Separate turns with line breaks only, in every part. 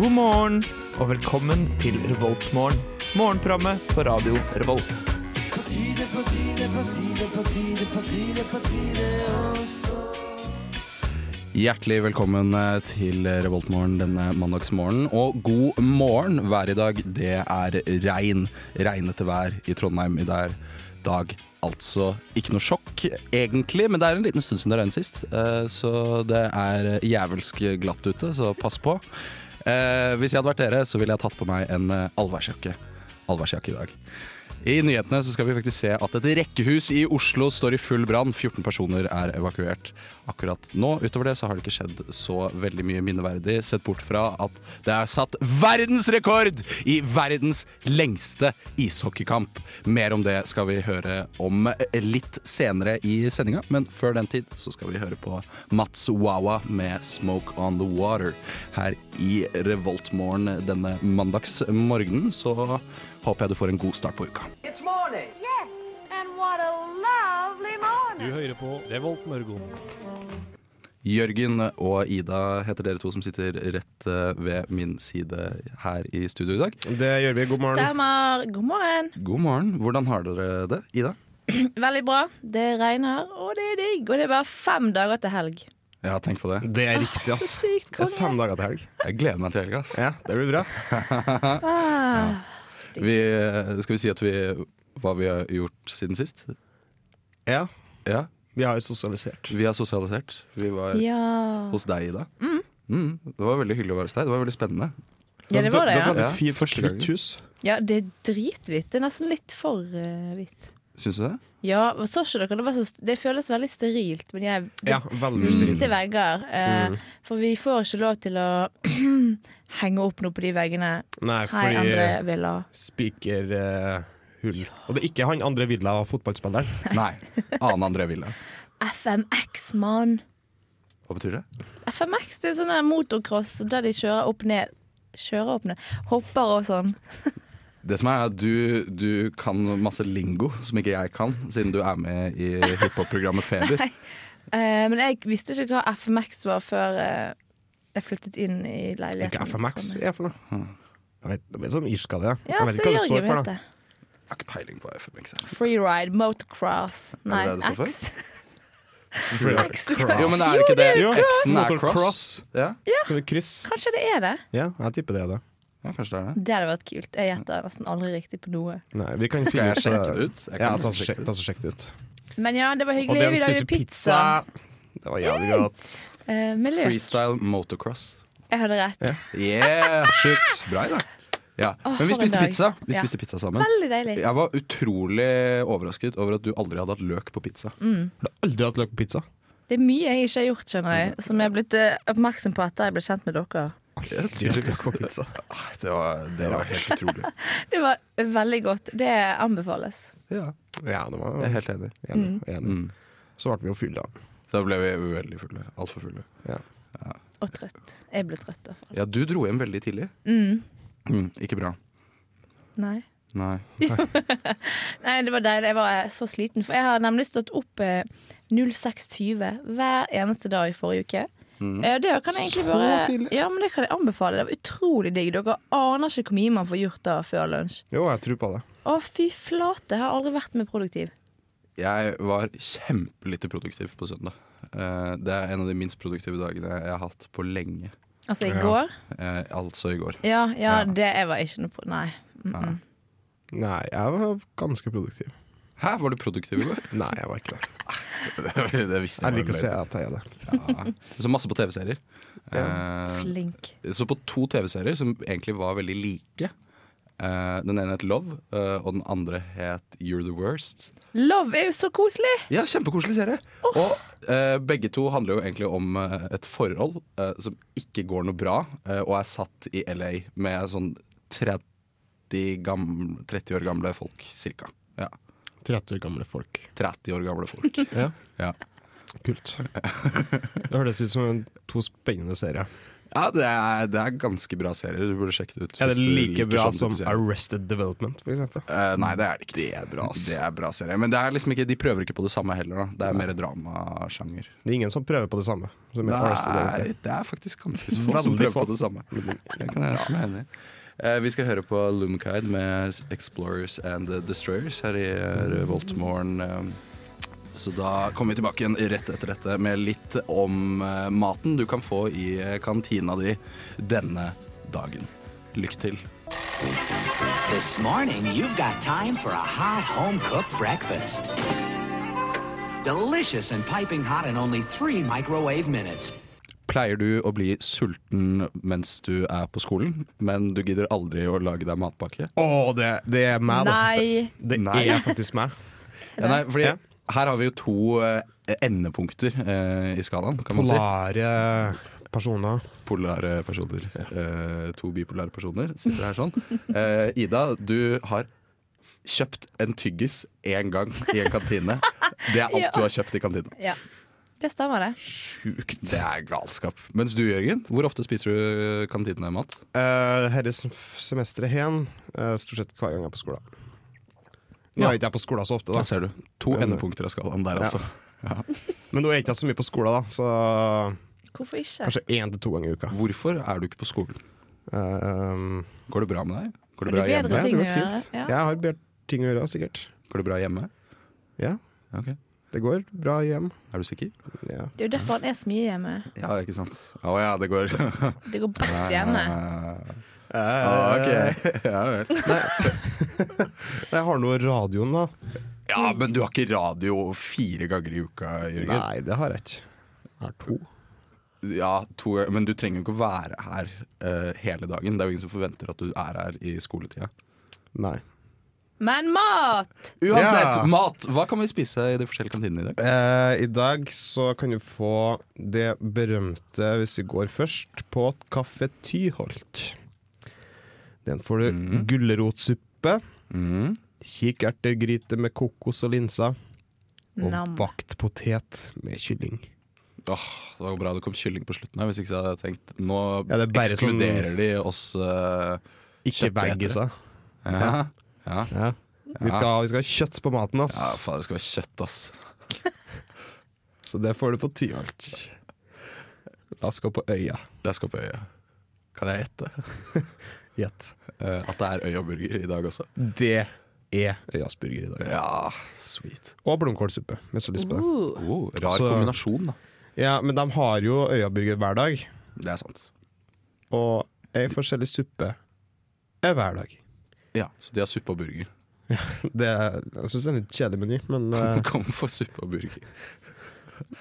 God morgen og velkommen til Revoltmorgen. Morgenprogrammet på radio Revolt.
Hjertelig velkommen eh, til Revoltmorgen denne mandagsmorgenen. Og god morgen. Været i dag, det er regn. Regnete vær i Trondheim i dag. dag. Altså ikke noe sjokk, egentlig, men det er en liten stund siden det regnet sist. Eh, Så det er jævelsk glatt ute, så pass på. Eh, Hvis jeg hadde vært dere, så ville jeg tatt på meg en eh, allværsjakke. Allværsjakke i dag. I nyhetene så skal vi faktisk se at et rekkehus i Oslo står i full brann. 14 personer er evakuert akkurat nå. Utover det så har det ikke skjedd så veldig mye minneverdig, sett bort fra at det er satt verdensrekord i verdens lengste ishockeykamp. Mer om det skal vi høre om litt senere i sendinga, men før den tid så skal vi høre på Mats Wawa med 'Smoke On The Water'. Her i Revoltmorgen denne mandagsmorgenen så håper jeg du får en god start på uka.
It's morning.
Yes, and what a lovely morning.
hører på Revolt Mørgon.
Jørgen og Ida heter dere to som sitter rett eh, ved min side her i studio i dag.
Det gjør vi. God morgen.
Stemmer. God morgen.
God morgen. Hvordan har dere det, Ida?
Veldig bra. Det regner, og det er digg. Og det er bare fem dager til helg.
Ja, tenk på det.
Det er riktig,
Så
ass.
sykt
Det er fem
konge.
dager til helg.
Jeg gleder meg til helga. ass.
Ja, det blir bra.
Ah.
Vi, eh, skal vi si at vi, hva vi har gjort siden sist?
Ja,
Ja,
vi har jo sosialisert.
vi har sosialisert. Vi var
Ja.
hos deg, Ida. Mm, det var veldig hyggelig å være hos deg. Det var veldig spennende.
ja, det var det,
Dere hadde
ja.
Ja,
et fint
første gangen.
hvitt hus.
ja det er drithvitt. Det er nesten litt for eh, hvitt.
Syns du det?
Ja, og så ikke dere, det, var så, det føles veldig sterilt, men jeg det
Ja, veldig
Hvite
stilig.
vegger. Eh, For vi får ikke lov til å henge opp noe på de veggene.
Nei,
Hei,
fordi eh,
André Villa.
spikerhull. Og det er ikke han andre Villa, fotballspilleren.
Nei. Ane André Ville.
FMX, mann.
Hva betyr det?
FMX det er sånn der motocross der de kjører opp ned. Kjører opp ned. Hopper og sånn.
Det som er at du, du kan masse lingo som ikke jeg kan, siden du er med i hiphop-programmet Feber.
Eh, men jeg visste ikke hva FMX var før eh, jeg flyttet inn i leiligheten.
Ikke FMX
i Trondheim.
er for noe.
Hm.
Jeg vet, det er sånn irsk av det. ja.
Ja,
Jeg vet
så
ikke hva det
Jørgen
står for,
vet
da.
det.
Jeg har ikke peiling på FMX. jeg.
Freeride, motocross Nei,
det det står for?
X.
Jo, men er det ikke det?
Jo,
X-en er
Motor
cross. Ja.
Så vi kryss.
Kanskje det er det?
Ja, jeg tipper det er det.
ja, kanskje det er det.
Det hadde vært kult. Jeg gjetter nesten aldri riktig på noe.
Nei, vi kan
Skal
finne
jeg
ut,
sjekke
eh,
det ut? Jeg kan
Ja,
nesten
ta så
sjekke
sjekk-
det
ta så sjekk det ut.
Men ja, det var
Og
hyggelig.
den
Vi lagde
spiser pizza.
pizza.
Det var jævlig godt.
Eh, med løk.
Freestyle motocross.
Jeg hadde rett.
Yeah! Sjukt. Bra, Ida. Ja.
Åh,
Men vi
for en
spiste
dag.
pizza. Vi
Ja.
spiste pizza sammen.
Veldig deilig.
Jeg var utrolig overrasket over at du aldri hadde hatt løk på pizza.
Aldri hatt løk på pizza.
Det er mye jeg ikke har gjort, skjønner jeg,
Mm.
som jeg er blitt eh, oppmerksom på etter jeg ble kjent med dere.
Aldri løk på pizza.
Det var, helt utrolig.
Det var veldig godt. Det anbefales.
Ja,
Ja, det var
jeg er helt Mm. enig.
Enig.
Mm.
enig. Så ble vi jo fulle, da.
Da ble vi veldig fulle. Altfor fulle.
Og trøtt. Jeg ble trøtt, i hvert fall.
Ja, du dro hjem veldig tidlig. Mm, ikke bra.
Nei.
Nei.
Nei, det var deilig. Jeg var eh, så sliten. For jeg har nemlig stått opp eh, 06.20 hver eneste dag i forrige uke.
Mm.
Eh, Det kan jeg egentlig bare Ja, men det kan jeg anbefale. Det var utrolig digg. Dere aner ikke hvor mye man får gjort da før lunsj.
Jo, jeg tror på det.
Å, fy flate. Jeg har aldri vært mer produktiv.
Jeg var kjempelite produktiv på søndag. Eh, Det er en av de minst produktive dagene jeg har hatt på lenge.
Altså i
Ja.
går.
Eh, Altså i går.
Ja, ja,
Ja.
det jeg var ikke noe pro... Nei. Mm -mm.
Nei, jeg var ganske produktiv.
Hæ, var du produktiv i går?
Nei, jeg var ikke det.
det visste
Jeg
jeg.
liker å
var
se
løgn.
at jeg er det.
Så masse på TV-serier. Eh,
Flink.
Så på to TV-serier som egentlig var veldig like. Eh, Den ene het Love, eh, og den andre het You're the Worst.
Love er jo så koselig!
Ja, kjempekoselig serie. Og eh, begge to handler jo egentlig om eh, et forhold eh, som ikke går noe bra, eh, og er satt i LA med sånn 30, gamle, 30 år gamle folk, cirka. Ja,
30 år gamle folk.
30 år gamle folk.
Ja,
Ja.
Kult. Det høres ut som en- to spennende serier.
Ja, det er, det er ganske bra serier. Du burde sjekke det ut.
Er
hvis
det
du
like
liker
bra
sånn
som
type serier.
Arrested Development, for eksempel?
Eh, nei, det er det ikke.
Det er bra, ass.
Det er bra serie. Men det er liksom ikke, de prøver ikke på det samme heller. Da. Det er mer dramasjanger.
Det er ingen som prøver på det samme. Som
Det
er Arrested
er,
Development.
det er faktisk ganske så få som
Veldig
prøver
få.
på det samme. Det kan jeg si meg enig i. Eh, vi skal høre på Lumkide med Explorers and the Destroyers her i Revoltmorgen. Så da kommer vi tilbake igjen rett etter dette med litt om eh, maten du kan få i eh, kantina di denne dagen. Lykke til.
This morning, you've got time for a hot home cooked breakfast. Delicious and piping hot in only three microwave minutes.
Pleier du å bli sulten mens du er på skolen, men du gidder aldri å lage deg matpakke?
Å, det, det er meg, da.
Nei.
Det
Nei.
er faktisk meg.
Ja, nei, fordi
Ja.
her har vi jo to eh, endepunkter eh, i skalaen, kan man si.
Polare personer.
Polare personer. Eh, to bipolare personer sitter her sånn. Eh, Ida, du har kjøpt en tyggis én gang i en kantine. Det er alt
Ja.
du har kjøpt i kantina.
Ja. Det stemmer, det.
Sjukt. Det er galskap. Mens du, Jørgen, hvor ofte spiser du eh, kantinemat?
Uh, Dette semesteret hen, eh, stort sett hver gang jeg er på skolen. Nå
Ja.
er ikke jeg på skolen så ofte,
Der
da.
ser du. To
Ja, det-
endepunkter av skalaen der,
Ja.
altså. Ja.
men nå er jeg ikke så mye på skolen, da. Så
Hvorfor ikke?
kanskje én til to ganger i uka.
Hvorfor er du ikke på skolen?
Eh,
Går det bra med deg? Går det bra
Er du bedre
hjemme?
jeg tror det
ting å
går
gjøre,
fint.
ja.
Jeg har bedre ting å gjøre, sikkert.
Går det bra hjemme?
Ja,
Ok.
det går bra hjem.
Er du sikker?
Ja.
Det er jo derfor han er så mye hjemme.
Ja, ikke sant. Å ja, det går
Det går best hjemme.
Ah, ok. Ja vel.
Jeg har noe radioen, da.
Ja, men du har ikke radio fire ganger i uka, Jørgen.
Nei, det har jeg ikke. Jeg har to.
Ja, to, ganger, men du trenger jo ikke å være her eh, hele dagen. Det er jo ingen som forventer at du er her i skoletida.
Nei.
Men mat!
Uansett,
Ja.
mat! Hva kan vi spise i de forskjellige kantinene i dag?
Eh, I dag så kan du få det berømte, hvis vi går først, på Kaffe Tyholt. Den får du gulrotsuppe,
Mm.
kikertergryte med kokos og linser, og
Nam.
bakt potet med kylling.
Åh, det var bra det kom kylling på slutten her, hvis ikke så hadde jeg tenkt Nå
Ja, det er bare sånn-
ekskluderer de oss eh,
Ikke
Kjøttetere.
veggiser.
ja. Ja.
Ja. Vi, skal, vi skal ha kjøtt på maten, ass.
ja, faen, det skal være kjøtt, ass.
Så det får du på Tyholt. La oss gå på øya.
Det skal på øya. Kan jeg gjette
Gjett.
eh, at det er øyaburger i dag også?
Det er øyas burger i dag.
Ja, sweet.
Og blomkålsuppe, hvis du har lyst på det.
Uh,
Oh, rar
Altså-
kombinasjon, da.
Ja, Men de har jo øyaburger hver dag,
Det er sant.
og ei forskjellig suppe er hver dag.
Ja, Så de har suppe og burger.
Det er, jeg syns det er en litt kjedelig meny, men eh,
Kom for suppe og burger.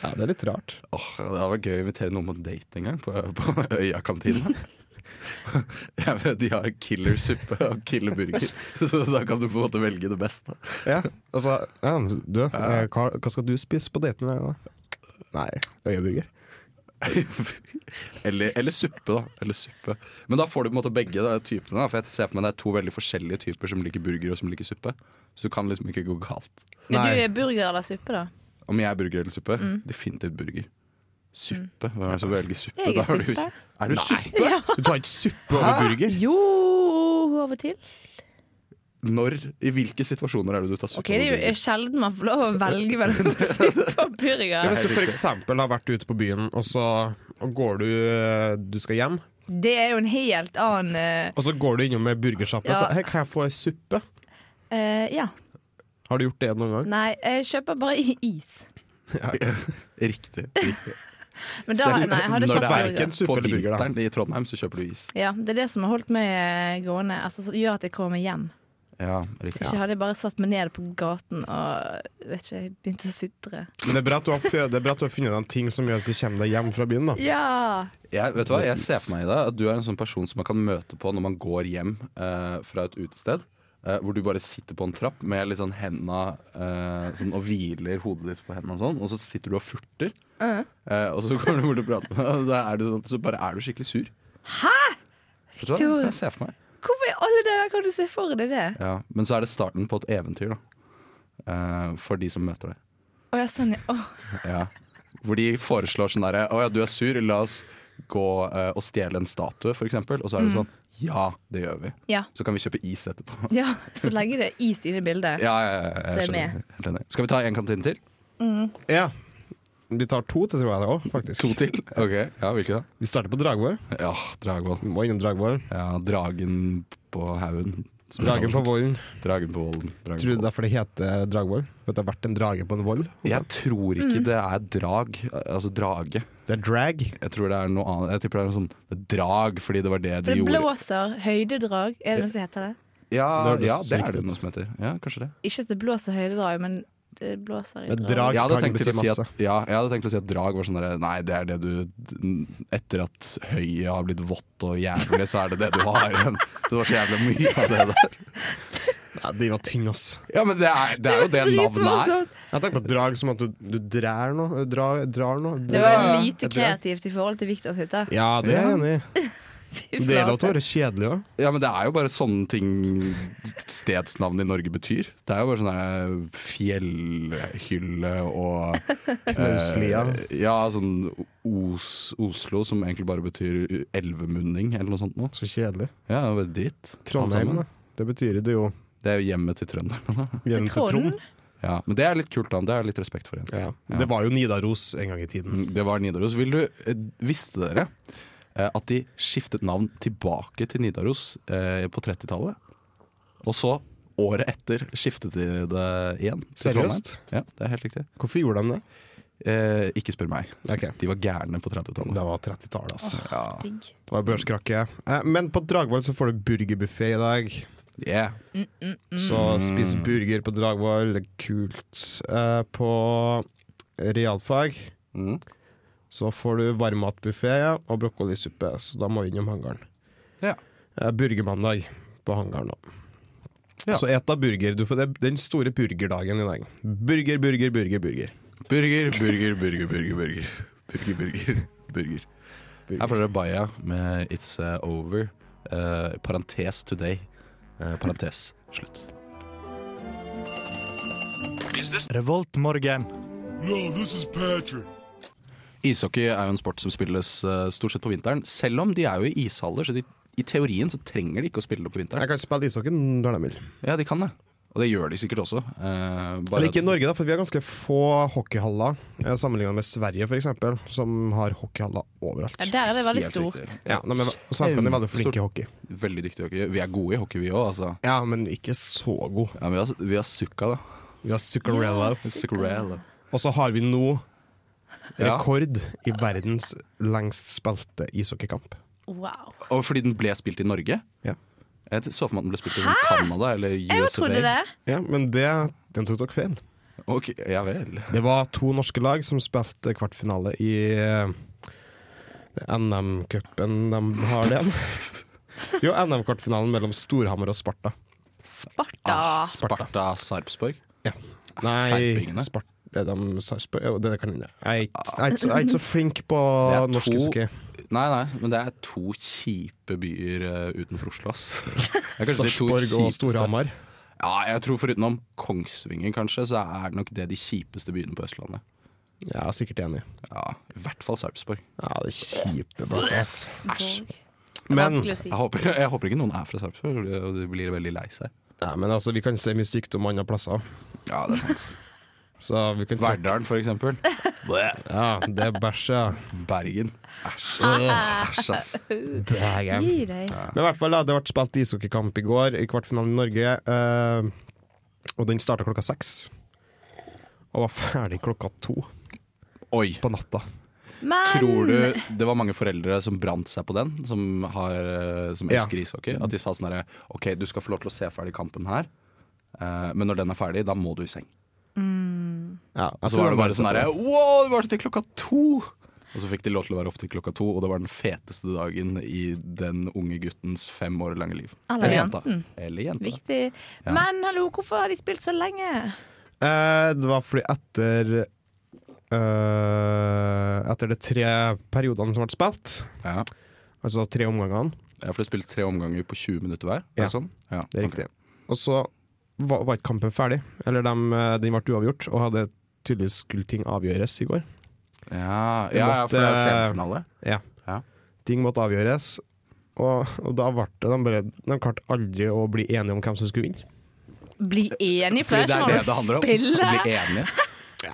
ja, det er litt rart.
Åh, Det hadde vært gøy å invitere noen på date en gang, på, på Øya-kantina. Jeg vet, De har killer suppe og killer burger, så da kan du på en måte velge det beste.
Ja, altså, ja, du, eh, hva, hva skal du spise på daten i dag, da? Nei, øyaburger.
Eller, eller suppe, da. Eller suppe. Men da får du på en måte begge da, typene. Da, for jeg ser for meg det er to veldig forskjellige typer som liker burger og som liker suppe. Så du kan liksom ikke gå galt.
vil du
Nei.
burger eller suppe, da?
Om jeg er burger eller suppe?
Mm.
Definitivt burger. Suppe? Hvem er det som velger suppe?
Jeg er
Da har du-
suppe.
Er du suppe?
Du tar ikke suppe over burger?
Jo, av og til.
Når, I hvilke situasjoner er det du tar suppe?
Ok, Det er
over
jo sjelden man får lov å velge mellom suppe og burger.
Hvis du for eksempel har vært ute på byen, og så og går du eh, Du skal hjem,
Det er jo en helt annen eh,
og så går du innom ei burgersjappe og
Ja.
sier 'hei, kan jeg få ei suppe'?
eh, Ja.
Har du gjort det noen gang?
Nei, jeg kjøper bare i- is.
burger? Riktig. riktig.
Men da,
Selv-
nei, jeg hadde
når
kjøpt
det er
burger.
verken suppe
På
eller burger, da.
vinteren i Trondheim så kjøper du is.
Ja, Det er det som har holdt meg eh, gående. Altså, som gjør at jeg kommer meg hjem.
Ja, riktig.
Ikke hadde jeg bare satt meg ned på gaten og vet ikke, begynt å sutre.
Men det er bra at du har, fø- det er bra at du har funnet deg en ting som gjør at du kommer deg hjem fra byen. da
Ja!
Jeg, vet du hva, jeg ser for meg i deg at du er en sånn person som man kan møte på når man går hjem eh, fra et utested. eh, hvor du bare sitter på en trapp med litt sånn henda eh, sånn, og hviler hodet ditt på hendene, og sånn Og så sitter du og furter.
Mm.
Eh, og så kommer du bort og prater med deg, og så, er du sånn, så bare er du skikkelig sur. Hæ?! Vet du hva?
Victor!
Jeg ser for meg.
Hvorfor i alle dager kan du se for deg det?
Ja, men så er det starten på et eventyr, da. Eh, for de som møter deg.
Å, ja, sånn, ja. Å,
Ja. Hvor de foreslår sånn derre Å ja, du er sur, la oss gå eh, og stjele en statue, f.eks.? Og så er det sånn Ja, det gjør vi.
Mm. Ja.
Så kan vi kjøpe is etterpå.
ja, så lenge det er is i det bildet.
Ja, ja, ja,
Så
jeg
er vi
skjønner. Helt enig. Skal vi ta en kantine til?
Ja. Vi tar to til, tror jeg det òg, faktisk.
To til? Ok, ja, Hvilke da?
Vi starter på Dragvoll.
Ja, Dragvoll.
Vi må innom Dragvoll.
Ja, Dragen på haugen. som det
Dragen på
kalles.
vollen.
Dragen på vollen. Dragen
Tror
på
du derfor det heter Dragvoll? For at det har vært en drage på en voll?
Jeg tror ikke
Mm.
det er drag, altså drage.
Det er drag.
Jeg tror det er noe annet. Jeg tipper det er noe sånn drag, fordi det var det
For
de
det
gjorde.
blåser høydedrag. Er det noe som heter det?
Ja,
Det hørtes
ja, det
sykt
er det
ut.
noe som heter. Ja, kanskje det.
Ikke at det blåser høydedrag, men det blåser i
Men
drag.
drag-
Jeg hadde,
kan
tenkt til å
bety
si at,
masse.
ja, jeg hadde tenkt til å si at drag var sånn derre Nei, det er det du Etter at høyet har blitt vått og jævlig, så er det det du har igjen. Det var så jævlig mye av det der.
Nei, de var tynne, ass.
Ja, men det er, det er jo det navnet er.
Dritmorsomt.
Jeg tenker på drag som at du, du drar noe. Dra, drar noe.
Det var
Drar.
lite
Et drag.
kreativt i forhold til Victor sitt. da.
Ja, det er jeg enig i.
Fy
Det er lov til å
flate.
være kjedelig òg.
Ja, men det er jo bare sånne ting stedsnavn i Norge betyr. Det er jo bare sånn der fjellhylle og
Knauslia.
Eh, ja, sånn Os, Oslo, som egentlig bare betyr elvemunning eller noe sånt noe.
Så kjedelig.
Ja, det er bare dritt. alt
Trondheim,
sammen.
da. Det betyr det jo
Det er jo hjemmet til trønderne. da.
hjem til Trond.
Trond?
Ja, men det er litt kult, da. Det har jeg litt respekt for. igjen.
Ja. Det var jo Nidaros en gang i tiden.
Mm, Det var Nidaros. Vil du, eh, visste dere eh, at de skiftet navn tilbake til Nidaros eh, på 30-tallet? Og så, året etter, skiftet de det igjen. til
Seriøst?
Trondheim. Ja, det er helt riktig.
Hvorfor gjorde de det?
Eh, ikke spør meg.
Ok,
De var gærne på 30-tallet.
Det var 30-tallet, altså.
Ja.
Digg.
Det var børskrakke. Eh, Men på Dragvoll så får du burgerbuffé i dag.
Yeah.
Så spis burger på Dragvoll, det er kult. Eh, På realfag
Mm.
så får du varmmatbuffé ja, og brokkolisuppe, så da må vi innom hangaren.
Ja.
Eh, Burgermandag på hangaren òg.
Ja.
Så et av burger. Du får det, den store burgerdagen i dag. Burger, burger, burger, burger.
Burger, burger, burger, burger. Burger, burger, burger, burger. Her får dere Baya med It's eh, Over. eh, parentes today. Eh, parentes slutt.
Revoltmorgen.
Ishockey er jo en sport som spilles eh, stort sett på vinteren. Selv om de er jo i ishaller, så de, i teorien så trenger de ikke å spille det på
Jeg
vinteren.
kan spille ishockey når de vil.
Ja, de kan det. Og det gjør de sikkert også. eh, bare
Eller ikke
at-
i Norge, da, for vi har ganske få hockeyhaller eh, sammenlignet med Sverige f.eks., som har hockeyhaller overalt.
Ja, der er det veldig
Helt
stort.
riktig.
Ja, nei, men Svenskene er veldig flinke i hockey.
Veldig dyktige i hockey. Vi er gode i hockey, vi òg, altså.
Ja, men ikke så god.
Ja, men vi, har, vi har Sukka, da.
Vi har Zuccarello.
Zuccarello.
Og så har vi nå
Ja.
rekord i verdens lengst spilte ishockeykamp.
Wow.
Og fordi den ble spilt i Norge?
Ja.
Jeg så for meg at den ble spilt i sånn Canada eller USA.
Jeg trodde det.
Ja, men det, den tok dere feil.
Ok, ja vel.
Det var to norske lag som spilte kvartfinale i eh, NM-cupen de har den. Jo, NM-kvartfinalen mellom Storhamar og Sparta.
Sparta.
Ah, Sparta Sarpsborg. Ah,
Nei,
Serpingene?
Spart er de Sarpsborg Jo, det kan hende. Jeg er ikke- jeg er ikke så- jeg er ikke så flink på
Ah. Det er
norsk
to-
ishockey.
Nei, nei, men det er to kjipe byer eh, utenfor Oslo, ass. Det er kanskje de to
Sarpsborg og
kjipeste.
Storhamar.
Ja, jeg tror forutenom Kongsvinger, kanskje, så er nok det de kjipeste byene på Østlandet.
Jeg er sikkert enig.
Ja, I hvert fall Sarpsborg.
Ja, det er kjipe plasser, ass.
Sarpsborg.
Men,
Vanskelig å si.
Jeg håper, jeg håper ikke noen er fra Sarpsborg og de blir veldig lei seg.
nei, men altså, vi kan se mye stygt om andre plasser.
Ja, det er sant.
Så vi kan trekke-
Verdalen, for eksempel.
Ja, det er bæsj, ja.
Bergen. Æsj.
Ah,
Æsj, ass.
Bergen.
Gi deg.
Men i hvert fall, da, det ble spilt ishockeykamp i går, i kvartfinalen i Norge. eh, og den starta klokka seks. Og var ferdig klokka to
Oi.
på natta.
Tror
Men
du det var mange foreldre som brant seg på den, som, har, eh, som
Ja.
elsker ishockey? At de sa sånn herre OK, du skal få lov til å se ferdig kampen her, eh, men når den er ferdig, da må du i seng.
Ja, jeg
Og så
tror
var
de
det bare
satt
sånn herre
der.
Wow, det var til klokka to! Og så fikk de lov til å være opp til klokka to, og det var den feteste dagen i den unge guttens fem år lange liv.
Eller jenten.
Eller jenta.
Viktig. Men hallo, hvorfor har de spilt så lenge?
Eh, det var fordi etter eh, Etter de tre periodene som ble spilt,
Ja.
altså tre omgangene,
Ja, for det spilte tre omganger på 20 minutter hver.
Ja.
Er det sånn? Ja,
det er
ok.
riktig. Og så var, var ikke kampen ferdig. Eller dem, eh, den ble uavgjort, og hadde tydeligvis skulle ting avgjøres i går.
Ja,
Det
ja, ja, for det er
måtte-
semifinale.
Ja.
Ja.
Ting måtte avgjøres. Og, og da ble det de bare De klarte aldri å bli enige om hvem som skulle vinne.
Bli enig, for
Fordi
det er ikke noe å spille.
Å bli enige.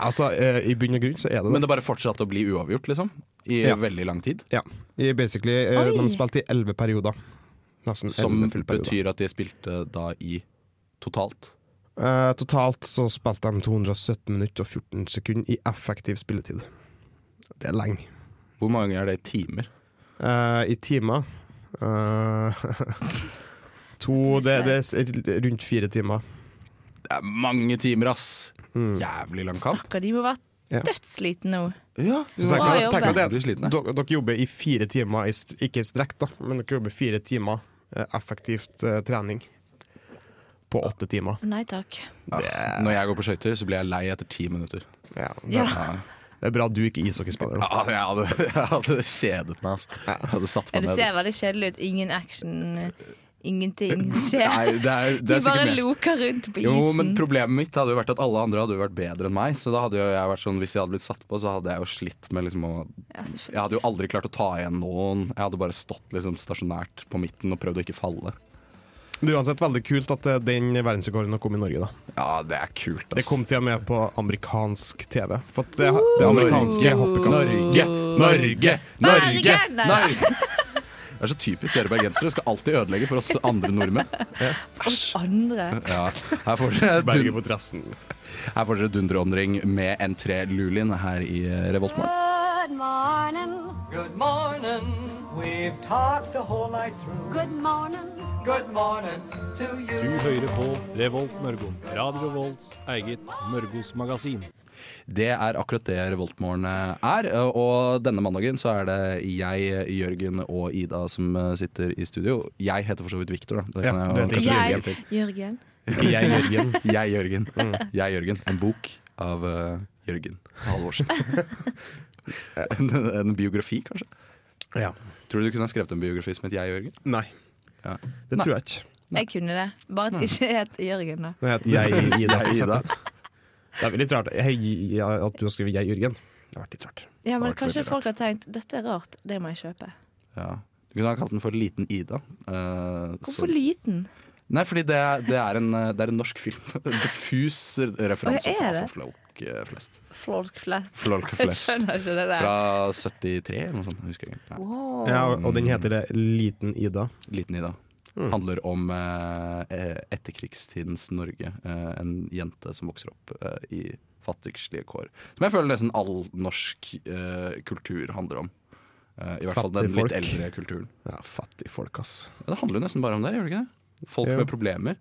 Altså, eh, I bunn og grunn så er det det.
Men det bare fortsatte å bli uavgjort, liksom. I
Ja.
veldig lang tid.
Ja. I basically, eh,
Oi.
de spilte i elleve perioder. Nesten
Som
elleve fullperioder.
betyr at de spilte da i totalt.
Eh, totalt så spilte de 217 minutter og 14 sekunder i effektiv spilletid. Det er lenge.
Hvor mange er det i timer?
Eh, I timer eh, To det, det er rundt fire timer.
Det er mange timer, ass!
Hmm.
Jævlig lang kamp.
Stakkar, de må
Ja.
være dødsslitne nå.
Ja,
Så tenk
Hva
deg-
jobber?
tenk deg det at
Veldig slitne.
dere, dere jobber i fire timer, i, st- ikke i strekk, da, men dere jobber fire timer eh, effektivt eh, trening på åtte timer.
Nei takk.
Når jeg går på skøyter, så blir jeg lei etter ti minutter.
Ja, det,
Ja.
det er bra du ikke er ishockeyspiller. da.
Ja, jeg, hadde, jeg hadde kjedet meg, altså. Jeg hadde satt
Ja,
meg ned.
det ser veldig kjedelig ut. Ingen action, eh, ingenting som
Nei,
skjer.
det er, det
De
er
bare
sikkert mer.
loker rundt på isen.
Jo, men Problemet mitt hadde jo vært at alle andre hadde jo vært bedre enn meg. Så da hadde jo jeg vært sånn, Hvis jeg hadde blitt satt på, så hadde jeg jo slitt med liksom å
Ja, selvfølgelig.
Jeg hadde jo aldri klart å ta igjen noen. Jeg hadde bare stått liksom stasjonært på midten og prøvd å ikke falle.
Det er uansett veldig kult at eh, den verdensrekorden kom i Norge, da.
Ja, det er kult, ass.
Det kom til og med på amerikansk TV. For at det, det amerikanske hoppekampet
Norge, Norge, Norge!
Bergen! Nei.
Norge! Det er så typisk dere bergensere. Skal alltid ødelegge for oss andre nordmenn.
Oss andre.
Ja, her får dere
Berger mot resten.
Her får dere dundreåndring med N3 Lulin her i eh, Revoltmorgen.
Good morning.
Good morning. We've talked the whole night through.
Good morning.
Good morning to you.
Du hører på Revolt Mørgon. Radio Volts eget Mørgos magasin.
Det er akkurat det Revoltmorgen er. Og denne mandagen så er det jeg, Jørgen og Ida som eh, sitter i studio. Jeg heter for så vidt Viktor, da. Det
Ja,
kan jeg-
du heter
kan
Jørgen.
jeg-
Jeg, Jørgen.
Ikke jeg, Jørgen.
Jeg, Jørgen.
Mm.
Jeg, Jørgen. En bok av eh, Jørgen Halvorsen. en, en biografi, kanskje?
Ja.
Tror du du kunne ha skrevet en biografi som het Jeg, Jørgen?
Nei,
Ja.
det tror jeg ikke.
Jeg kunne det. Bare
Mm.
at ikke het Jørgen, da.
Det heter jeg, Ida. for
Jeg, Ida.
eksempel. Det er litt rart Hei, ja, at du har skrevet jeg, Jørgen. Det har vært litt rart.
Ja, men
Det var
Kanskje
veldig
folk har tenkt dette er rart, det må jeg kjøpe.
Ja. Du kunne ha kalt den for Liten Ida. eh,
Hvorfor
som-
liten?
Nei, fordi det, er- det, er en, eh, det er en norsk film. Diffus referanse å
Å, er
ta
det?
for folk eh, flest.
Folk flest.
Folk flest.
Jeg skjønner ikke det der.
Fra 73 eller noe sånt. jeg Husker jeg. ikke. Nei,
Wow.
Ja, og- og den heter det Liten Ida.
Liten Ida.
Mm.
Handler om eh, eh, etterkrigstidens Norge. Eh, en jente som vokser opp eh, i fattigslige kår. Som jeg føler nesten all norsk eh, kultur handler om. Eh, I hvert fall den litt
Fattigfolk.
eldre kulturen.
Ja, Fattigfolk, ass.
Ja, det handler jo nesten bare om det, gjør det ikke det? Folk
Jo.
med problemer.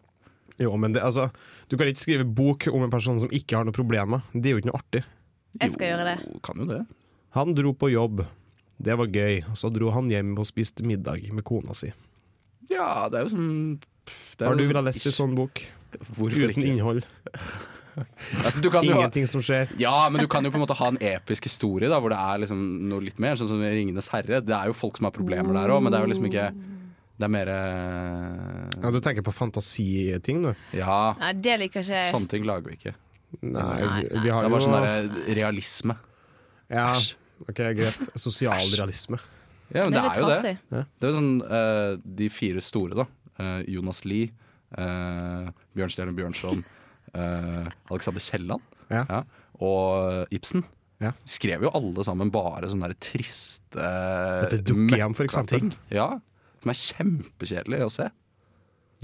Jo, men det, altså, du kan ikke skrive bok om en person som ikke har noen problemer. Det er jo ikke noe artig.
Jeg skal gjøre det.
Jo, kan jo det.
Han dro på jobb. Det var gøy. Så dro han hjem og spiste middag med kona si.
Ja, det er jo sånn det er
Har
jo
du
sånn-
villet lest en sånn bok?
Hvorfor
Uten
ikke?
innhold.
Altså, du kan jo ha,
Ingenting som skjer.
ja, men du kan jo på en måte ha en episk historie da, hvor det er liksom noe litt mer. Sånn som i 'Ringenes herre'. Det er jo folk som har problemer der òg, men det er jo liksom ikke Det er mer eh,
Ja, Du tenker på fantasiting, du?
Ja,
Nei, det liker ikke jeg.
sånne ting lager vi ikke.
Nei, vi, vi
Det
har
er
jo
bare sånn derre realisme.
ja, OK, greit. Sosialrealisme.
Ja, men
Det
det
er
er
litt
jo det.
trasig.
Det er jo sånn eh, de fire store, da. Eh, Jonas Lie, eh, Bjørnstjerne Bjørnson, eh, Alexander Kielland
Ja.
og Ibsen.
Ja.
Skrev jo alle sammen bare sånne der triste eh,
Dette dukkehjem, for
møkka
eksempel.
ting. Ja, som er kjempekjedelig å se.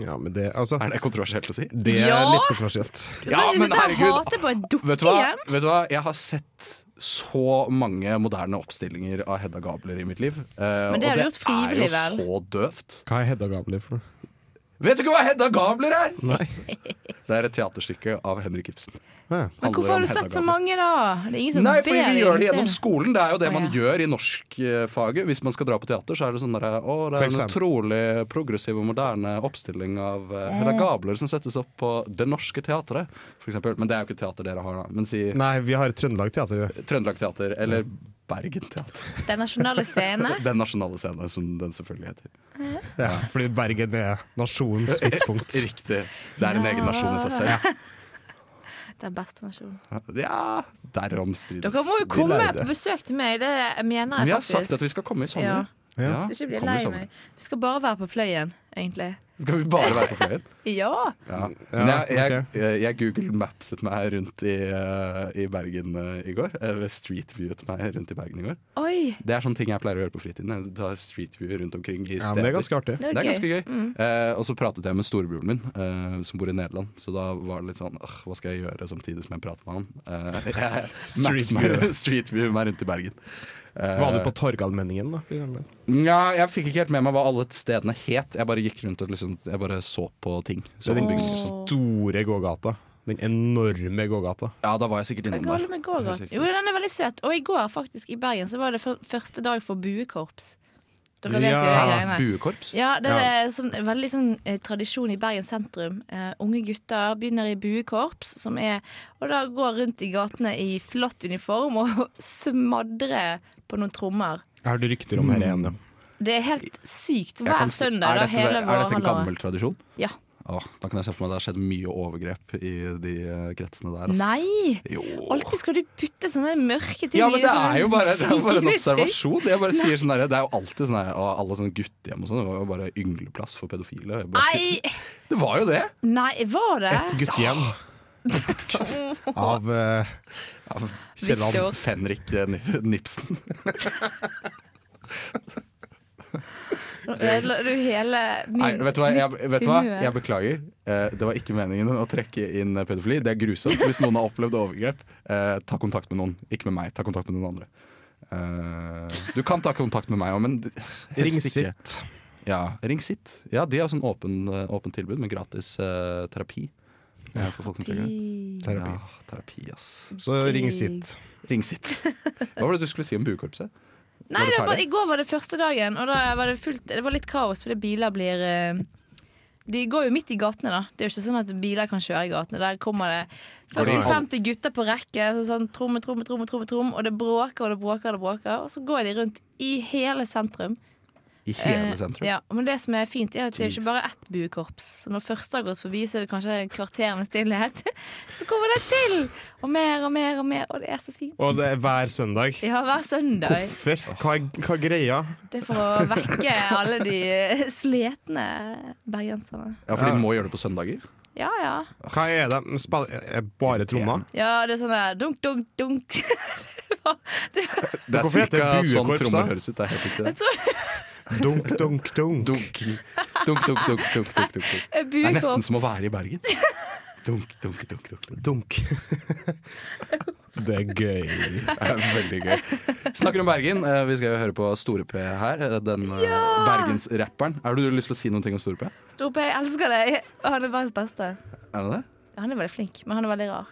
Ja, men det Altså,
Er det kontroversielt å si?
det er
Ja!
litt kontroversielt.
Ja,
Kanskje
men
sitte og
herregud!
hate på et
Vet du, hva?
dukkehjem?
Vet du hva? Jeg har sett så mange moderne oppstillinger av Hedda Gabler i mitt liv. eh,
Men det har
og
du gjort frivillig,
det er
vel?
jo så døvt.
Hva er Hedda Gabler for noe?
Vet du ikke hva Hedda Gabler er?
Nei.
Det er et teaterstykke av Henrik Ibsen.
Ja.
Men hvorfor har du sett så mange, da? Det er ingen som
Nei,
ber
fordi vi
deg liksom
gjør det
om å
gjennom
se.
skolen. Det er jo det
Å,
man
ja.
gjør i norskfaget. Hvis man skal dra på teater, så er det sånn der, Å, det
For
er en
eksempel.
utrolig progressiv og moderne oppstilling av eh, Hedda Gabler som settes opp på Det Norske Teatret, for eksempel. Men det er jo ikke teater dere har, da. Men si
Nei, vi har Trøndelag Teater. vi.
Trøndelag Teater eller Bergen Teater.
Den nasjonale scene.
Den nasjonale scenen, som den selvfølgelig heter.
Ja, fordi Bergen er nasjonens midtpunkt.
Riktig. Det er en egen nasjon i seg selv.
Den beste nasjonen.
Ja, derom strides.
Dere må jo
De
komme
lærde.
på besøk til meg, det mener
Vi
jeg
har sagt at
faktisk.
vi skal komme i sommer.
Ja. Så ikke blir jeg
kommer
lei
i sommer.
meg. Vi skal bare være på fløyen, egentlig.
Skal vi bare være på fløyen?
Ja!
Ja.
Ja,
Men jeg, jeg, jeg Google Mapset meg rundt i, eh, i Bergen eh, i går. Eller Street Viewet meg rundt i Bergen i går.
Oi!
Det er sånne ting jeg pleier å gjøre på fritiden. Jeg tar Street View rundt omkring i
Ja, men det er
steder.
ganske artig.
Det var
Det er
gøy. Mm.
ganske gøy. Eh, og så pratet jeg med storebroren min, eh, som bor i Nederland. Så da var det litt sånn «Åh, Hva skal jeg gjøre samtidig som jeg prater med han? Eh, jeg
Street
Street meg, street view meg rundt i Bergen. Eh,
Var du på Torgallmenningen, da? For eksempel?
Nja, jeg fikk ikke helt med meg hva alle stedene het. Jeg bare gikk rundt og liksom, jeg bare så på ting.
Det
Så
er liksom. den
bygninger.
store gågata. Den enorme gågata.
ja, da var jeg sikkert
Hva
innom
holder
der.
med gågata?
Helt sikkert.
Jo, den er veldig søt. Og i går faktisk i Bergen så var det fyr- første dag for buekorps. Dere vet jo
Ja,
de greiene.
Buekorps?
Ja, det er sånn, veldig sånn, eh, tradisjon i Bergen sentrum. Eh, unge gutter begynner i buekorps, som er Og da går rundt i gatene i flott uniform og smadrer på noen trommer.
Jeg hørte rykter om her igjen, ja.
Det er helt sykt.
Jeg
Hver
kan si-
søndag.
er
da,
dette,
hele
er dette en
vårhalvåret.
gammel tradisjon?
Ja.
Åh, da kan jeg se for meg det har skjedd mye overgrep i de eh, kretsene der. ass.
Nei!
Jo.
Alltid skal du putte sånne mørke ting
Ja, men
i
det
sånne
er jo bare, det er jo bare en
fine ting.
observasjon. Jeg bare sier sånn der, Det er jo alltid sånn der, «Å, alle sånne guttehjem og sånn. Det var jo bare yngleplass for pedofile. Jeg bare-
Nei!
Det var jo det!
Nei, var det?
Et guttehjem av eh,
Kjelland
Victor.
Fenrik eh, Ni- Nipsen.
Nå ødela du hele min
Nei, vet du hva, jeg, vet du hva?
humør.
jeg beklager. Eh, Det var ikke meningen å trekke inn pedofili. Det er grusomt. Hvis noen har opplevd overgrep, eh, ta kontakt med noen. Ikke med meg. Ta kontakt med noen andre. Eh, Du kan ta kontakt med meg òg, men
Ring
helst ikke.
sitt.
Ja, Ring sitt. Ja, de har sånn åpen, eh, åpent tilbud med gratis eh, terapi. eh, For folk som trenger det.
Terapi.
Ja, terapi, ass.
Så ring sitt.
Ring sitt. Hva var det du skulle si om buekorpset?
Nei,
Var du
det var bare,
ferdig?
I går var det første dagen, og da var det, fullt, det var litt kaos fordi biler blir eh, De går jo midt i gatene, da. Det er jo ikke sånn at biler kan kjøre i gatene. Der kommer det
Går de i
50 gutter på rekke, så sånn tromme, tromme, tromme, tromme, tromme, og det bråker og det bråker og det bråker. Og så går de rundt i hele sentrum.
I hele
Eh,
sentrum?
Ja, men det som er fint, er at det er
Jesus.
jo ikke bare ett buekorps. Så når første har gått forbi, så er det kanskje et kvarter med stillhet. Så kommer det til! Og mer og mer og mer, og det er så fint.
Og det er hver søndag.
Ja, hver søndag.
Hvorfor? Hva er, hva er greia?
Det er for å vekke alle de sletne bergenserne.
Ja, for de må gjøre det på søndager?
Ja, ja.
Hva er det? Spill- er det bare trommer?
Ja, det er sånn der dunk, dunk, dunk. Det var, det var,
Det er
Hvorfor heter
cirka
det
sånn
buekorps,
trommer
da?
høres ut. Det er helt riktig.
jeg
det.
tror
Dunk, dunk, dunk.
Dunk, dunk, dunk, dunk, dunk, dunk, dunk. dunk.
jeg
Det er
buker
nesten
opp.
som å være i Bergen. Dunk, dunk, dunk, dunk. dunk.
Dunk. Det er gøy.
Det er veldig gøy. Snakker om Bergen. eh, Vi skal jo høre på Store-P her. eh, Den eh, bergensrapperen. Har du lyst til å si noen ting om Store-P?
Stor P, jeg elsker deg. Han er verdens beste.
Er det det?
Han er veldig flink, men han er veldig rar.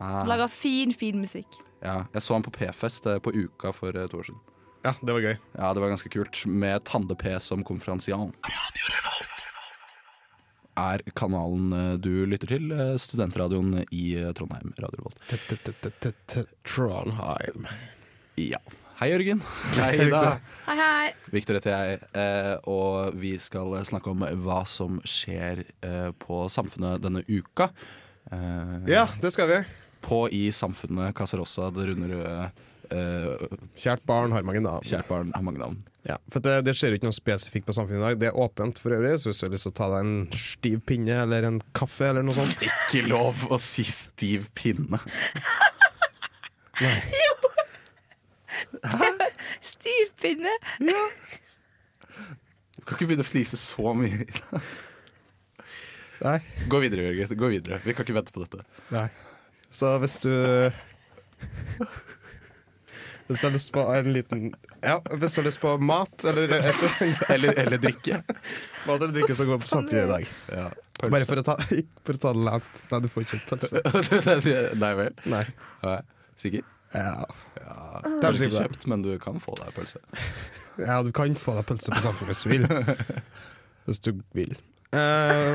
Ah.
Han lager fin, fin musikk.
Ja, jeg så han på P-fest eh, på Uka for eh, to år siden.
Ja, det var gøy.
Ja, det var ganske kult. Med Tande-P som konferansian. Er kanalen eh, du lytter til, eh, studentradioen i eh, Trondheim, Radio Revolt.
T-t-t-t-t-t- Trondheim.
Ja. Hei, Jørgen. Hei da.
Hei, hei.
Victor heter jeg, eh, og vi skal eh, snakke om hva som skjer eh, på Samfunnet denne uka. Eh,
Ja, det skal vi.
På i Samfunnet Casarossa, det runder røde. eh,
Kjært barn har mange navn.
kjært barn har mange navn.
Ja, for det, det skjer jo ikke noe spesifikt på samfunnet i dag. Det er åpent for øvrig, så hvis du har lyst til å ta deg en stiv pinne eller en kaffe eller noe sånt
Ikke lov å si stiv pinne.
Stiv pinne.
Du kan ikke begynne å flise så mye.
Nei.
Gå videre, Jørgen. Gå videre. Vi kan ikke vente på dette.
Nei. Så hvis du Hvis du har lyst på en liten Ja, hvis du har lyst på mat eller et eller annet
Eller, eller drikke.
mat eller drikke, så går på samfunnet i dag.
Ja,
Bare for å ta, ikke for å ta det langt. Nei, du får ikke kjøpt pølse.
Nei vel.
Nei.
Nei. Sikker?
Ja.
Du har ikke
sikkert.
kjøpt, men du kan få deg pølse.
ja, du kan få deg pølse på samfunnet hvis du vil. Hvis du vil. Eh,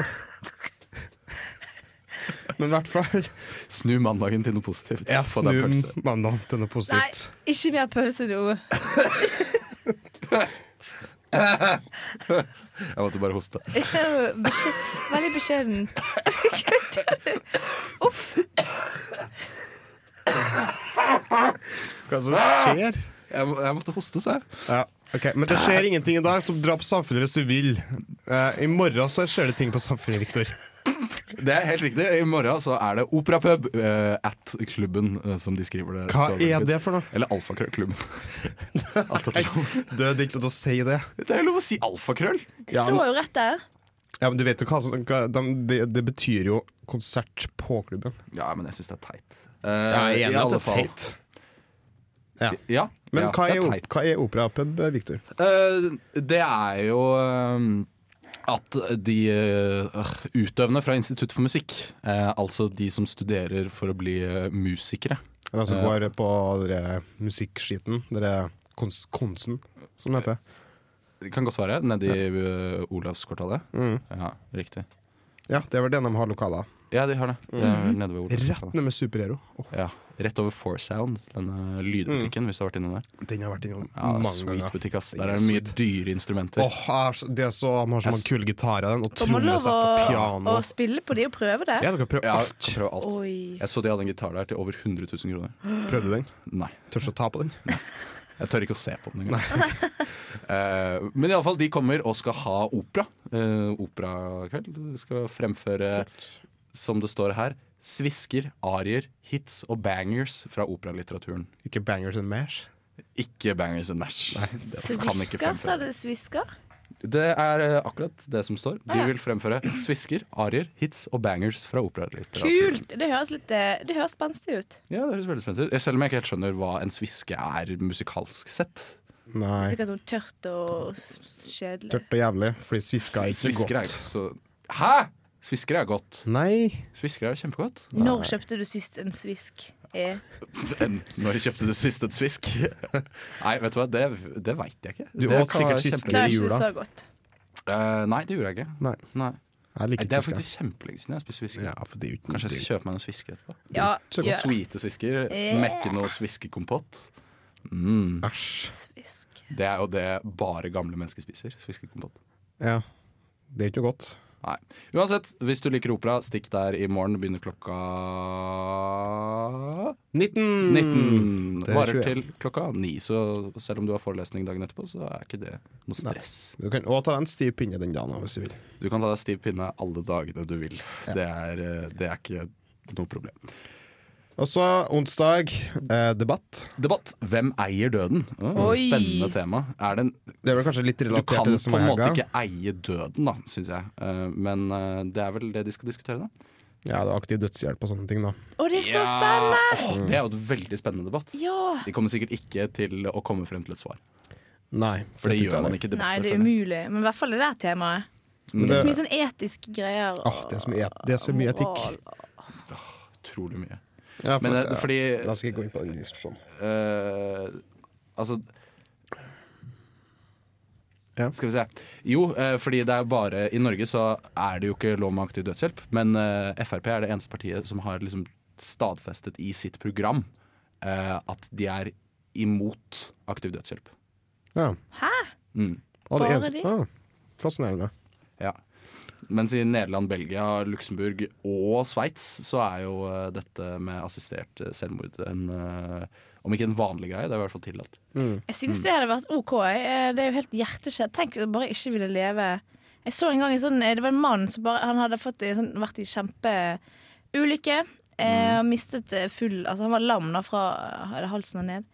men i hvert fall
Snu mandagen til noe positivt.
Ja,
Få deg pølse.
snu mandagen til noe
Nei,
positivt.
ikke mer pølse nå.
Jeg måtte bare hoste.
Beskjed, veldig beskjeden.
Hva som skjer?
Jeg, må- jeg måtte hoste, sa jeg.
Ja. Ok, Men det skjer ingenting i dag som drar på samfunnet hvis du vil. Eh, I morgen så skjer det ting på samfunnet, Viktor.
Det er helt riktig. I morgen så er det Operapub eh, at klubben, eh, som de skriver det.
Hva
så
er
vakkert.
det for noe?
Eller Alfakrøllklubben. Alt etter ham.
Død ikke til å si det.
det er jo lov å si alfakrøll!
Det står jo rett der.
Ja, men du vet jo hva, som- hva de, det, det betyr jo konsert på klubben.
Ja, men jeg syns det er teit. Eh,
Jeg er enig
i
i at
alle
det er
fall.
teit. Ja.
Ja,
Men
ja,
hva
det
er,
teit.
op- hva er operapub, Viktor?
Eh, det er jo eh, at de eh, utøvende fra Institutt for musikk, eh, altså de som studerer for å bli eh, musikere
Den som
Eh.
går på dere musikkskiten. Dere kons konsen, som det heter.
Det kan godt være nedi eh, Olavskvartalet.
Mm.
Ja, riktig.
Ja, det er vel den de har lokaler.
Ja, de har det. det er nede ved
Mhm. Rett
Olavskvartalet.
ned med superhero. Åh,
Ja, rett over Four Sound, denne lydbutikken, hvis du har vært innom der.
den har jeg vært innom
Ja,
Mhm. mange
sweet
ganger.
butikk, ass.
Den
Der
er
er det mye
sweet.
dyre instrumenter.
Åh, jeg har så- det er så, de har så
Jeg
mange
s-
kule gitarer, den, og
Og må lov
trommesett
å,
og
å
piano.
spille på de og prøve det.
Ja, dere prøver
Ja,
alt.
kan prøve alt.
Oi.
Jeg så de hadde en gitar der til over 100 000 kroner.
Prøvde den?
Nei.
Tør ikke å ta på den?
Jeg tør ikke å se på den engang. Eh, men iallfall, de kommer og skal ha opera. Eh, operakveld. De skal fremføre, som det står her, svisker, arier, hits og bangers fra operalitteraturen.
Ikke bangers and mash?
Ikke bangers and match.
Svisker, sa det svisker?
Det er eh, akkurat det som står. De vil fremføre svisker, arier, hits og bangers fra operalitteraturen.
Kult! Det høres litt eh, Det høres spenstig ut.
Ja, det høres veldig spennende ut. Selv om jeg ikke helt skjønner hva en sviske er musikalsk sett.
Nei.
Sikkert noe tørt og s- kjedelig.
Tørt og jævlig, fordi sviska er ikke
Svisker er
godt.
jo så Hæ?! Svisker er godt.
Nei.
Svisker er jo kjempegodt.
Når kjøpte du sist en svisk? Eh,
Men Når kjøpte du sist et svisk? Nei, vet du hva, det, det veit jeg ikke.
Du
det
åt
kan
sikkert
være
svisker.
Det
kjempe-
er ikke
jula.
så godt.
Eh, nei, det gjorde jeg ikke.
Nei.
Nei.
Jeg
Nei,
liker
det er
sviska.
faktisk kjempelenge siden jeg spiste svisker.
Ja, for det er jo ikke
Kanskje jeg skal kjøpe meg noen svisker etterpå.
Ja,
Så
gjør
godt.
Sweete svisker.
Yeah.
Mekke noe sviskekompott. Mm.
Æsj.
svisk.
Det er jo det bare gamle mennesker spiser. Sviskekompott.
Ja. Det er ikke noe godt.
Nei. Uansett, hvis du liker opera, stikk der i morgen. Begynner klokka
19!
Mm.
19.
Mm, Det er
Varer
21.
til klokka 9. Så selv om du har forelesning dagen etterpå, så er ikke det noe stress.
Du kan også ta en stiv pinne den dagen hvis du vil.
Du kan ta deg stiv pinne alle dagene du vil. Det, er, eh, det er ikke noe problem.
Og så onsdag, eh, debatt.
Debatt. Hvem eier døden? Å,
Oi.
spennende tema. Er det en,
Det er vel kanskje litt
du
relatert
kan
til det som
på
er
en måte
helga.
ikke eie døden, da, syns jeg. Eh, Men eh, det er vel det de skal diskutere, da.
Ja, det er aktiv dødshjelp og sånne ting, da.
Å, det er så spennende!
Åh, det er jo et veldig spennende debatt.
Ja.
De kommer sikkert ikke til å komme frem til et svar.
Nei,
For det gjør man
ikke.
ikke i
Nei,
debatter.
det er
føler jeg.
umulig. Men i hvert fall det der temaet.
Men
Det
det,
er så mye sånn etiske greier.
Åh, det, er så mye, et, det er så mye etikk.
Utrolig mye.
Ja, for,
Men eh,
ja.
fordi
La oss ikke gå inn på den sånn. diskusjonen.
eh, Altså
Ja.
Skal vi se. Jo, eh, fordi det er jo bare I Norge så er det jo ikke lov med aktiv dødshjelp, men eh, Frp er det eneste partiet som har liksom stadfestet i sitt program eh, at de er imot aktiv dødshjelp.
Ja.
Hæ?
Mm.
Og det
Bare
eneste,
de?
ah, fascinerende.
Ja. Mens i Nederland, Belgia, Luxembourg og Sveits så er jo eh, dette med assistert eh, selvmord en eh, Om ikke en vanlig greie, det er i hvert fall tillatt.
Jeg
Mm.
synes det hadde vært OK. Eh, Det er jo helt hjerteskjært. Tenk å bare ikke ville leve. Jeg så en gang en sånn eh, Det var en mann som bare Han hadde fått, en sånn, vært i kjempeulykke.
Mm.
Eh, og mistet eh, full Altså, han var lam da fra eh, halsen og ned.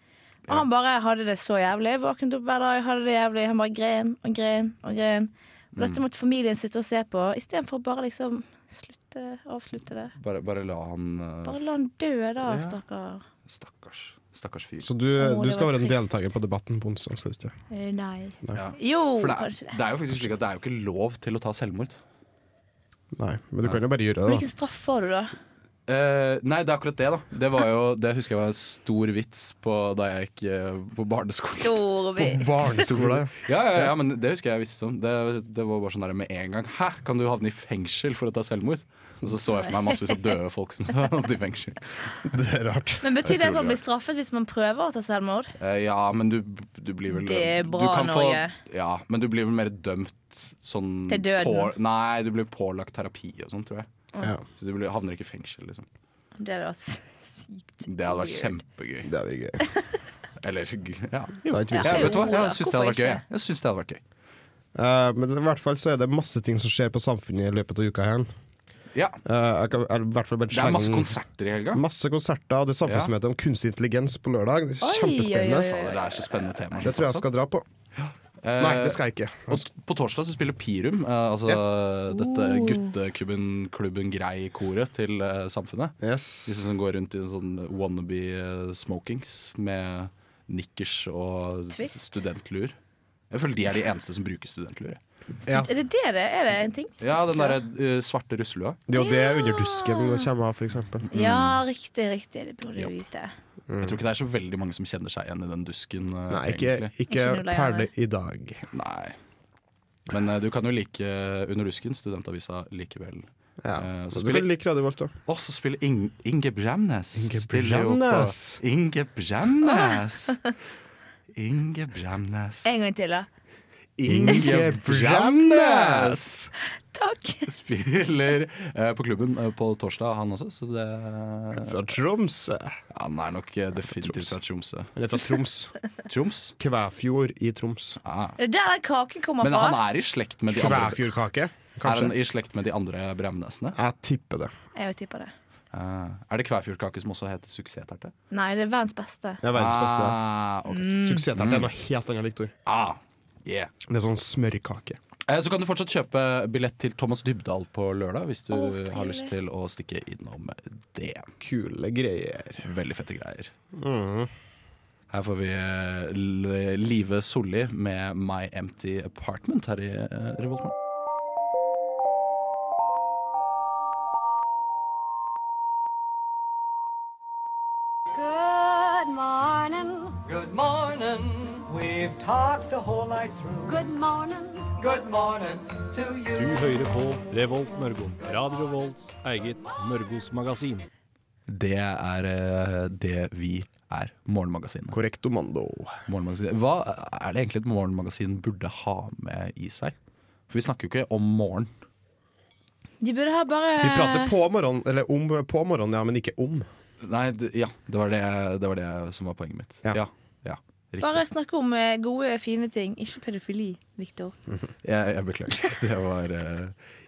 Og han bare hadde det så jævlig. Våknet opp hver dag, hadde det jævlig. Han bare gren og gren og gren. Og
Mm.
dette måtte familien sitte og se på, istedenfor å bare liksom slutte, avslutte det.
Bare, bare la han eh,
Bare la han dø, da,
Ja.
stakkar.
Stakkars, stakkars fyr.
Så du,
Åh,
du
det
skal
var
være en
trist.
deltaker på debatten på onsdag, skal du ikke?
Eh, Nei.
Ja.
Jo,
For det er,
kanskje det.
det er jo faktisk slik at det er jo ikke lov til å ta selvmord.
Nei, men du kan jo bare gjøre det, da.
Hvilken straff får du, da?
Eh, nei, det er akkurat det, da. Det, var jo, det husker jeg var en stor vits på da jeg gikk eh, på barneskolen.
Stor
På
vits.
barneskolen.
Ja, ja, ja, men Det husker jeg visste om. Det, det var bare sånn der med en gang. Hæ, kan du havne i fengsel for å ta selvmord? Og så så jeg for meg massevis av døde folk som satt i fengsel.
Det er rart.
Men betyr det at man
Utrolig
blir straffet hvis man prøver å ta selvmord?
Eh, ja, men du, du blir vel
Det er
du
bra,
kan
Norge.
ja, men du blir vel mer dømt sånn
Til døden.
på- nei, du blir pålagt terapi og sånn, tror jeg.
Ja,
Så du blir, havner ikke i fengsel, liksom.
Det hadde vært sykt.
Det hadde vært
weird.
kjempegøy.
det er vel gøy.
Eller ja.
Det er ikke
Ja.
vits.
Ja, vet du hva? Jeg
Hvorfor
syns det hadde vært gøy.
ikke?
Jeg synes det hadde vært gøy.
Eh, men i hvert fall så er det masse ting som skjer på samfunnet i løpet av uka her.
Ja.
Eh, jeg kan jeg, i hvert fall bare
Det er masse
slenge-
konserter i helga.
Masse konserter, og det er samfunnsmøte om kunstig intelligens på lørdag. Det er
Oi,
kjempespennende.
oi, oi, oi.
Fader, Det er så spennende tema.
Det tror jeg jeg skal dra på. Nei, det skal jeg ikke.
Eh, Og s- på torsdag så spiller Pirum, eh, altså dette
Oh.
gutteklubben klubben Grei-koret til eh, Samfunnet. Disse
Yes.
som går rundt i sånn wannabe-smokings med nikkers og
Twist.
studentluer. Jeg føler de er de eneste som bruker studentluer. jeg.
Ja.
Er det det det er? Er det en ting?
Ja, den derre eh, svarte russelua.
Det er jo det underdusken kommer av, for eksempel.
Ja, riktig, riktig. Det burde du
Mm. Ja.
vite.
Jeg tror ikke det er så veldig mange som kjenner seg igjen i den dusken. eh,
Mm. Nei, ikke,
egentlig.
ikke
Ikke nulla
perle
gjerne.
i dag.
Nei. Men eh, du kan jo like Under dusken, studentavisa, likevel.
Ja.
Eh, så
Så
spiller-
spiller like Radio Volt, da.
Og så spiller Ing Inge Bremnes.
Inge
spiller jo på-
Bremnes.
Inge Bremnes! Inge Bremnes.
En gang til, da.
Inge Bremnes!
Takk.
Spiller eh, på klubben eh, på torsdag, han også, så det
Fra Tromsø.
Han er nok eh, definitivt fra Tromsø.
Eller fra Troms.
Troms?
Kvæfjord i Troms.
Ah.
Det er der den kaken kommer
Men
fra.
han er i slekt med de andre
Kvæfjordkake,
Er han
kanskje?
i slekt med de andre Bremnesene?
Jeg tipper det.
Jeg vil tippe det.
Ah. er det Kvæfjordkake som også heter suksessterte?
Nei, det er verdens beste.
Det er verdens beste.
Ah, Mm. ok.
Mm.
Suksessterte er noe helt annet, Victor.
ah, yeah.
Det er sånn smørkake.
Eh, Så kan du fortsatt kjøpe billett til Thomas Dybdahl på lørdag hvis du
Å, trivelig.
har lyst til å stikke innom det.
Kule greier. Mm.
Veldig fette greier. Her får vi eh, L- Live Solli med My Empty Apartment her i eh, Revolt. Morgen.
Good morning.
Good morning. We've talked the whole night through.
Good morning.
Good morning to you.
Du hører på Revolt Mørgon. Radio Revolts eget Mørgos magasin.
Det er eh, det vi er. Morgenmagasinet.
Korrekt omando.
Morgenmagasinet. Hva er det egentlig et morgenmagasin burde ha med i seg? For vi snakker jo ikke om morgen.
De burde ha bare
Vi prater på morgenen, eller om på morgenen, ja, men ikke om.
Nei, det, ja, det var det, det var det som var poenget mitt.
Ja.
Ja, ja, riktig.
Bare snakke om eh, gode, fine ting. Ikke pedofili, Victor.
Jeg, jeg beklager. Det var eh,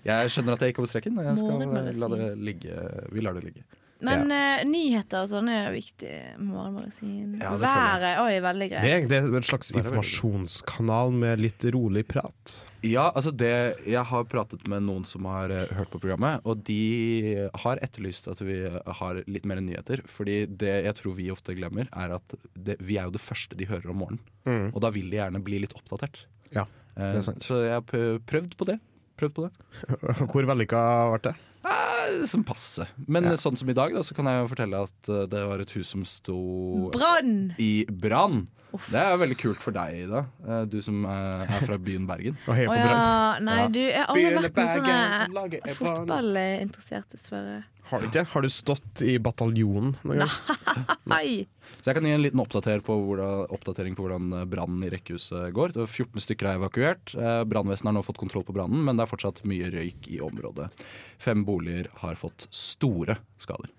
Jeg skjønner at jeg gikk over streken. Jeg skal eh, la
Morgenmagasin.
det ligge. Vi lar det ligge.
Men eh, nyheter og sånn er viktig. Morgenmagasin.
Ja, det føler
Været òg er veldig
Det
greit.
er egentlig en slags informasjonskanal med litt rolig prat.
Ja, altså det Jeg har pratet med noen som har eh, hørt på programmet, og de har etterlyst at vi har litt mer nyheter. Fordi det jeg tror vi ofte glemmer, er at det, vi er jo det første de hører om morgenen. Og da vil de gjerne bli litt oppdatert.
Mm. Ja,
Eh,
det er sant.
Så jeg har p- prøvd på det. Prøvd på det.
Hvor vellykka ble det?
Eh, Som passe. Men eh, sånn som i dag, da, så kan jeg jo fortelle at eh, det var et hus som sto
Brann!
i brann. Det er veldig kult for deg, Ida. Eh, Du som eh, er fra byen Bergen.
Å heie
Å
på
ja.
brann.
Nei,
Ja.
du, jeg har aldri vært noe sånn eh, fotballinteressert, dessverre.
Har du ikke? Har du stått i bataljonen noen gang?
Hei!
Så jeg kan gi en liten oppdater på hvordan, oppdatering på hvordan eh, brannen i rekkehuset går. Det var 14 stykker er evakuert. Eh, Brannvesenet har nå fått kontroll på brannen, men det er fortsatt mye røyk i området. Fem boliger har fått store skader.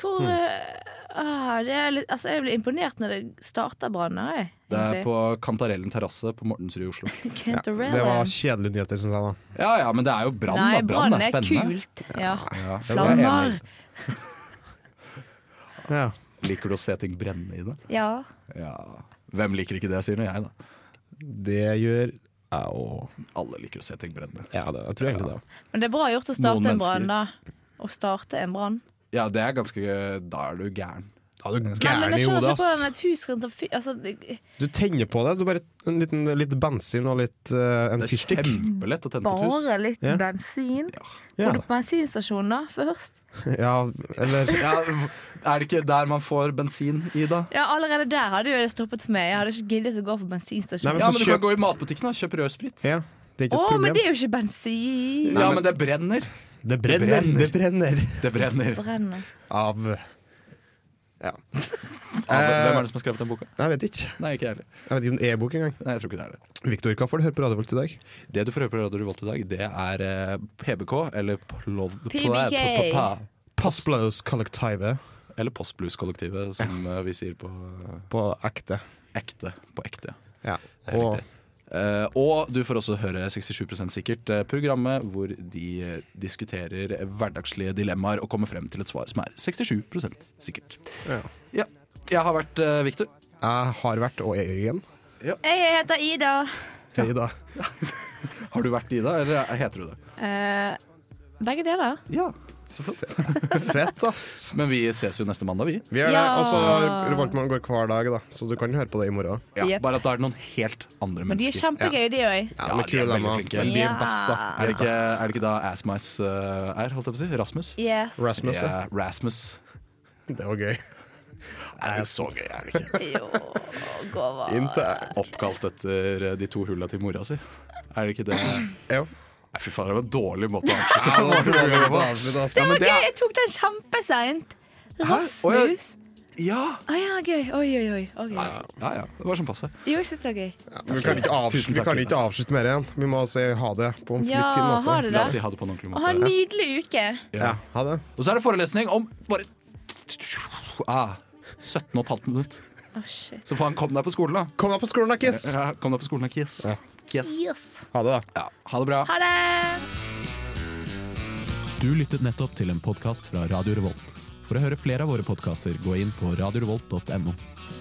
Hvor eh, ah, det er litt, altså Jeg blir imponert når det starter branner, jeg.
Det er på Kantarellen terrasse på Mortensrud i Oslo.
Ja, det var kjedelige nyheter, syns jeg. da
Ja ja, men det er jo brann,
Nei,
da. Brann er
er
spennende.
kult. Ja.
Ja, jeg er enig.
Flammer!
ja.
Liker du å se ting brenne i det?
Ja.
Ja. Hvem liker ikke det, sier nå jeg, da.
Det gjør jeg òg.
Alle liker å se ting brenne.
Ja, det, jeg tror egentlig det.
Men det er bra gjort å starte
Noen
en brann, da. Å starte en brann.
Ja, det er ganske Da er du gæren.
Da er du
Men
gæren
jeg
i
skjønner
hodet,
ikke hvordan
ass.
et hus kan ta fyr altså, det-
Du tenner på det. Du bare en liten, Litt bensin og litt eh, en
Det er
fyrstikk.
kjempelett å tenne på et hus.
Bare litt
Ja.
bensin.
Ja,
Går du på bensinstasjonen da, først?
ja, eller
Ja, er det ikke der man får bensin, Ida?
Ja, allerede der hadde jo det stoppet for meg. Jeg hadde ikke giddet å gå på bensinstasjonen.
Nei, men
Ja,
så
men du kan
kjøp-
gå i matbutikken og kjøpe rødsprit.
Ja, det er ikke
Å,
et
men
problem.
det er jo ikke bensin!
Ja, men det brenner.
Det brenner, det brenner
Det brenner.
Brenner.
av
Ja,
Ja.
men Hvem er det som har skrevet den boka?
Jeg vet ikke.
Nei, ikke jeg heller.
Jeg vet ikke om det er e-bok engang.
Nei, jeg tror ikke det er det.
Viktor, hva får du høre på Radiovolt i dag?
Det du får høre på Radio Revolt i dag, det er eh, PBK, eller plov...
PBK.
pl- pa- pa-
Passblaus Kollektive
Eller Postblues-kollektivet, som eh, vi sier på
på ekte.
Ekte på ekte.
Ja.
Det er
Og
riktig. Eh, og du får også høre 67 sikkert eh, programmet hvor de eh, diskuterer hverdagslige dilemmaer og kommer frem til et svar som er 67 sikkert.
Ja.
Ja. Jeg har vært uh, Victor.
jeg har vært, og jeg er Jørgen.
Jeg heter Ida.
Ida.
Har du vært Ida, eller heter du det?
Eh, begge deler.
Ja, så flott.
Fett, ass.
Men vi ses jo neste mandag, vi.
Vi er
Ja.
det. Og så Revoltmann går hver dag, da. Så du kan høre på det i morgen.
Ja,
Yep.
Bare at da er det noen helt andre
Men de er
mennesker.
kjempegøye, de òg.
Ja,
Ja,
men
de er
kul,
veldig
Emma.
flinke.
Men vi er
Ja.
best, da.
Er
Vi
det,
er
ikke,
best.
er det ikke da Assmice eh, er, holdt jeg på å si? Rasmus?
Yes.
Rasmus, ja.
Ja, Rasmus.
Det var gøy.
Er det så gøy, er det ikke?
Jo, Håvard.
Inntil
Oppkalt etter eh, de to hulla til mora si. Er det ikke det Nei,
Jo.
Fy faen, det var en dårlig måte å
Ja,
avslutte
det var dårlig å avslutte, ass.
Ja, men
Å,
det
gøy,
er-
jeg tok den kjempeseint.
Å, ja.
Rasmus.
Ja,
Å ja, gøy. Oi, oi, oi. Ok.
ja, ja. Det var sånn passe.
Jo, jeg syns det er gøy.
Ja, men vi kan ikke, avs
Tusen
vi
takk,
kan
Ida.
ikke avslutte mer igjen. Vi må si ha det på en
Ja,
litt fin måte.
ha det,
La
da.
oss si ha det på en ordentlig
Ha en
måte.
nydelig uke.
Ja, ha det.
Og så er det forelesning om bare ah, 17 15 minutter.
Å, shit.
Så faen, kom deg på skolen, da.
Kom deg på skolen, da, Kiss.
Ja, Kom deg på skolen, da, Kies. Kies.
Ha det, da.
Ja, ha det bra.
Ha det.
Du lyttet nettopp til en podkast fra Radio Revolt. For å høre flere av våre podkaster, gå inn på radiorevolt.no.